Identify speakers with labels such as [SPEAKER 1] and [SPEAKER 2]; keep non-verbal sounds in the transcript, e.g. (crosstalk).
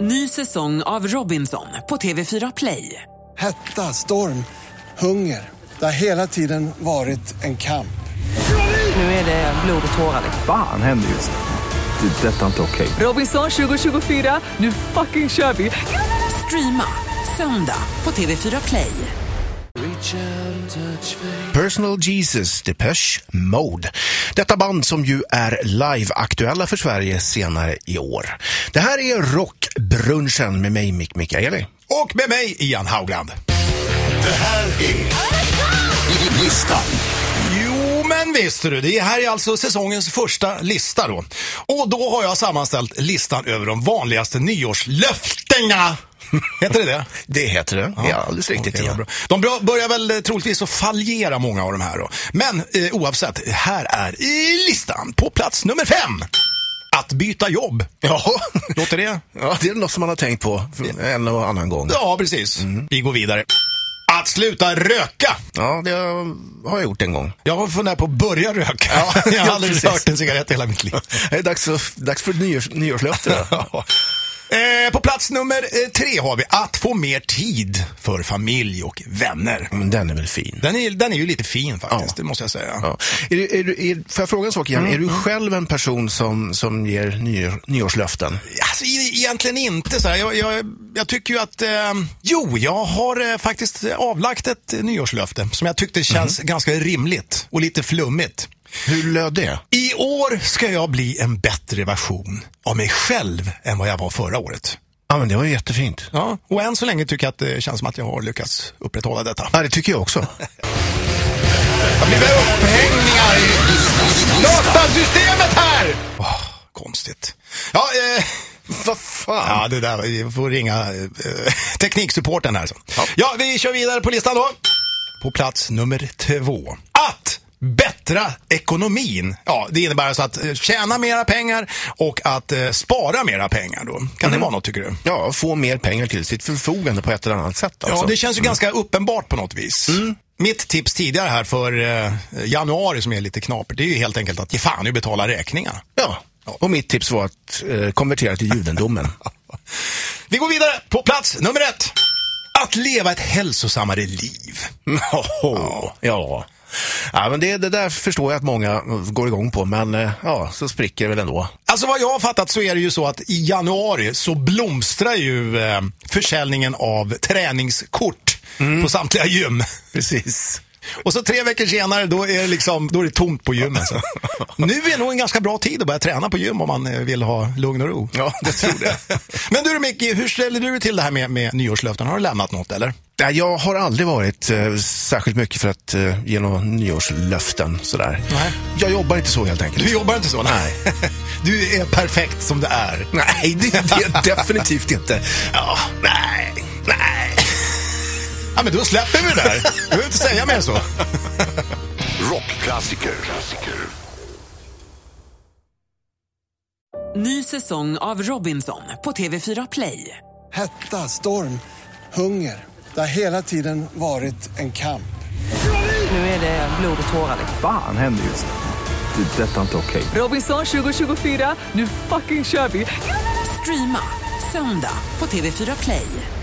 [SPEAKER 1] Ny säsong av Robinson på TV4 Play.
[SPEAKER 2] Hetta, storm, hunger. Det har hela tiden varit en kamp.
[SPEAKER 1] Nu är det blod och tårar.
[SPEAKER 3] Fan händer just nu. Det. är Detta är inte okej.
[SPEAKER 1] Robinson 2024, nu fucking kör vi! Streama söndag på TV4 Play.
[SPEAKER 4] Personal Jesus, Depeche Mode. Detta band som ju är live-aktuella för Sverige senare i år. Det här är Rockbrunchen med mig, Mick Mikaeli.
[SPEAKER 5] Och med mig, Ian Haugland. Det här är listan. Jo, men visst du. Det här är alltså säsongens första lista då. Och då har jag sammanställt listan över de vanligaste nyårslöftena. Heter det det?
[SPEAKER 4] Det heter det. Ja, alldeles riktigt.
[SPEAKER 5] Okej, vad
[SPEAKER 4] Ian.
[SPEAKER 5] bra. De bra- börjar väl eh, troligtvis att fallera många av de här då. Men eh, oavsett, här är i listan på plats nummer fem. Att byta jobb.
[SPEAKER 4] Jaha.
[SPEAKER 5] (laughs) Låter det?
[SPEAKER 4] Ja, det är något som man har tänkt på en och annan gång.
[SPEAKER 5] Ja, precis. Mm. Vi går vidare. Att sluta röka.
[SPEAKER 4] Ja, det har jag gjort en gång.
[SPEAKER 5] Jag har funderat på att börja röka.
[SPEAKER 4] Ja,
[SPEAKER 5] (laughs) jag har
[SPEAKER 4] ja,
[SPEAKER 5] aldrig
[SPEAKER 4] precis.
[SPEAKER 5] rört en cigarett i hela (laughs) mitt liv.
[SPEAKER 4] Det är dags, för- dags för ett nyårs,
[SPEAKER 5] (laughs)
[SPEAKER 4] nyårslöfte. då.
[SPEAKER 5] Eh, på plats nummer eh, tre har vi att få mer tid för familj och vänner.
[SPEAKER 4] Men den är väl fin?
[SPEAKER 5] Den är, den är ju lite fin faktiskt,
[SPEAKER 4] Ja.
[SPEAKER 5] det måste jag säga.
[SPEAKER 4] Ja. Är, du- är, du- är, får jag fråga en sak
[SPEAKER 5] Mm,
[SPEAKER 4] igen? Är du själv en person som, som ger nyår, nyårslöften?
[SPEAKER 5] Alltså, e- egentligen inte så här. Jag, jag, jag tycker ju att... Eh, jo, jag har eh, faktiskt avlagt ett eh, nyårslöfte som jag
[SPEAKER 4] Mhm.
[SPEAKER 5] tyckte känns ganska rimligt och lite flummigt.
[SPEAKER 4] Hur löd det?
[SPEAKER 5] I år ska jag bli en bättre version av mig själv än vad jag var förra året.
[SPEAKER 4] Ja, men det var ju jättefint.
[SPEAKER 5] Ja, och än så länge tycker jag att det känns som att jag har lyckats upprätthålla detta.
[SPEAKER 4] Ja, det tycker jag också.
[SPEAKER 5] Det blir väl upphängningar i datasystemet här! Åh, konstigt. Ja, eh, (laughs)
[SPEAKER 4] Vad fan?
[SPEAKER 5] ja, det där, vi får ringa eh, tekniksupporten här. Så. Ja. vi kör vidare på listan då. På plats nummer två. Att bättra ekonomin. Ja, det innebär alltså att eh, tjäna mera pengar och att eh, spara mera pengar då. Kan det vara något tycker du?
[SPEAKER 4] Ja, få mer pengar till sitt förfogande på ett eller annat sätt. Alltså. Mm.
[SPEAKER 5] Ja, det känns ju ganska uppenbart på något vis. Mitt tips tidigare här för eh, januari som är lite knapert, det är ju helt enkelt att ge fan i att betala räkningarna.
[SPEAKER 4] Ja. Och mitt tips var att eh, konvertera till judendomen.
[SPEAKER 5] (laughs) Vi går vidare på plats nummer ett. Att leva ett hälsosammare liv.
[SPEAKER 4] (laughs) ja. ja. Ja, men det, det där förstår jag att många går igång på, men eh, ja, så spricker det väl ändå.
[SPEAKER 5] Alltså vad jag har fattat så är det ju så att i januari så blomstrar ju eh, försäljningen av träningskort på samtliga gym.
[SPEAKER 4] Precis.
[SPEAKER 5] Och så tre veckor senare, då är det, liksom, då är det tomt på gymmen. Så. Nu är nog en ganska bra tid att börja träna på gym om man eh, vill ha lugn och ro.
[SPEAKER 4] Ja, det tror jag.
[SPEAKER 5] (laughs) Men du Micke, hur ställer du dig till det här med, med nyårslöften? Har du lämnat något eller?
[SPEAKER 4] Nej, jag har aldrig varit eh, särskilt mycket för att eh, ge några nyårslöften sådär.
[SPEAKER 5] Nej.
[SPEAKER 4] Jag jobbar inte så helt enkelt.
[SPEAKER 5] Du jobbar inte så? Nej. (laughs) Du är perfekt som det är.
[SPEAKER 4] Nej, det,
[SPEAKER 5] (laughs)
[SPEAKER 4] det är definitivt inte.
[SPEAKER 5] Ja, nej, nej. Ja, men då släpper vi det där. Du behöver inte säga mer än så.
[SPEAKER 6] Rockklassiker.
[SPEAKER 1] Ny säsong av Robinson på TV4 Play.
[SPEAKER 2] Hetta, storm, hunger. Det har hela tiden varit en kamp.
[SPEAKER 7] Nu är det blod och tårar.
[SPEAKER 3] Fan händer just nu. Det. är Detta är inte okej.
[SPEAKER 7] Robinson 2024, nu fucking kör vi!
[SPEAKER 1] Streama söndag på TV4 Play.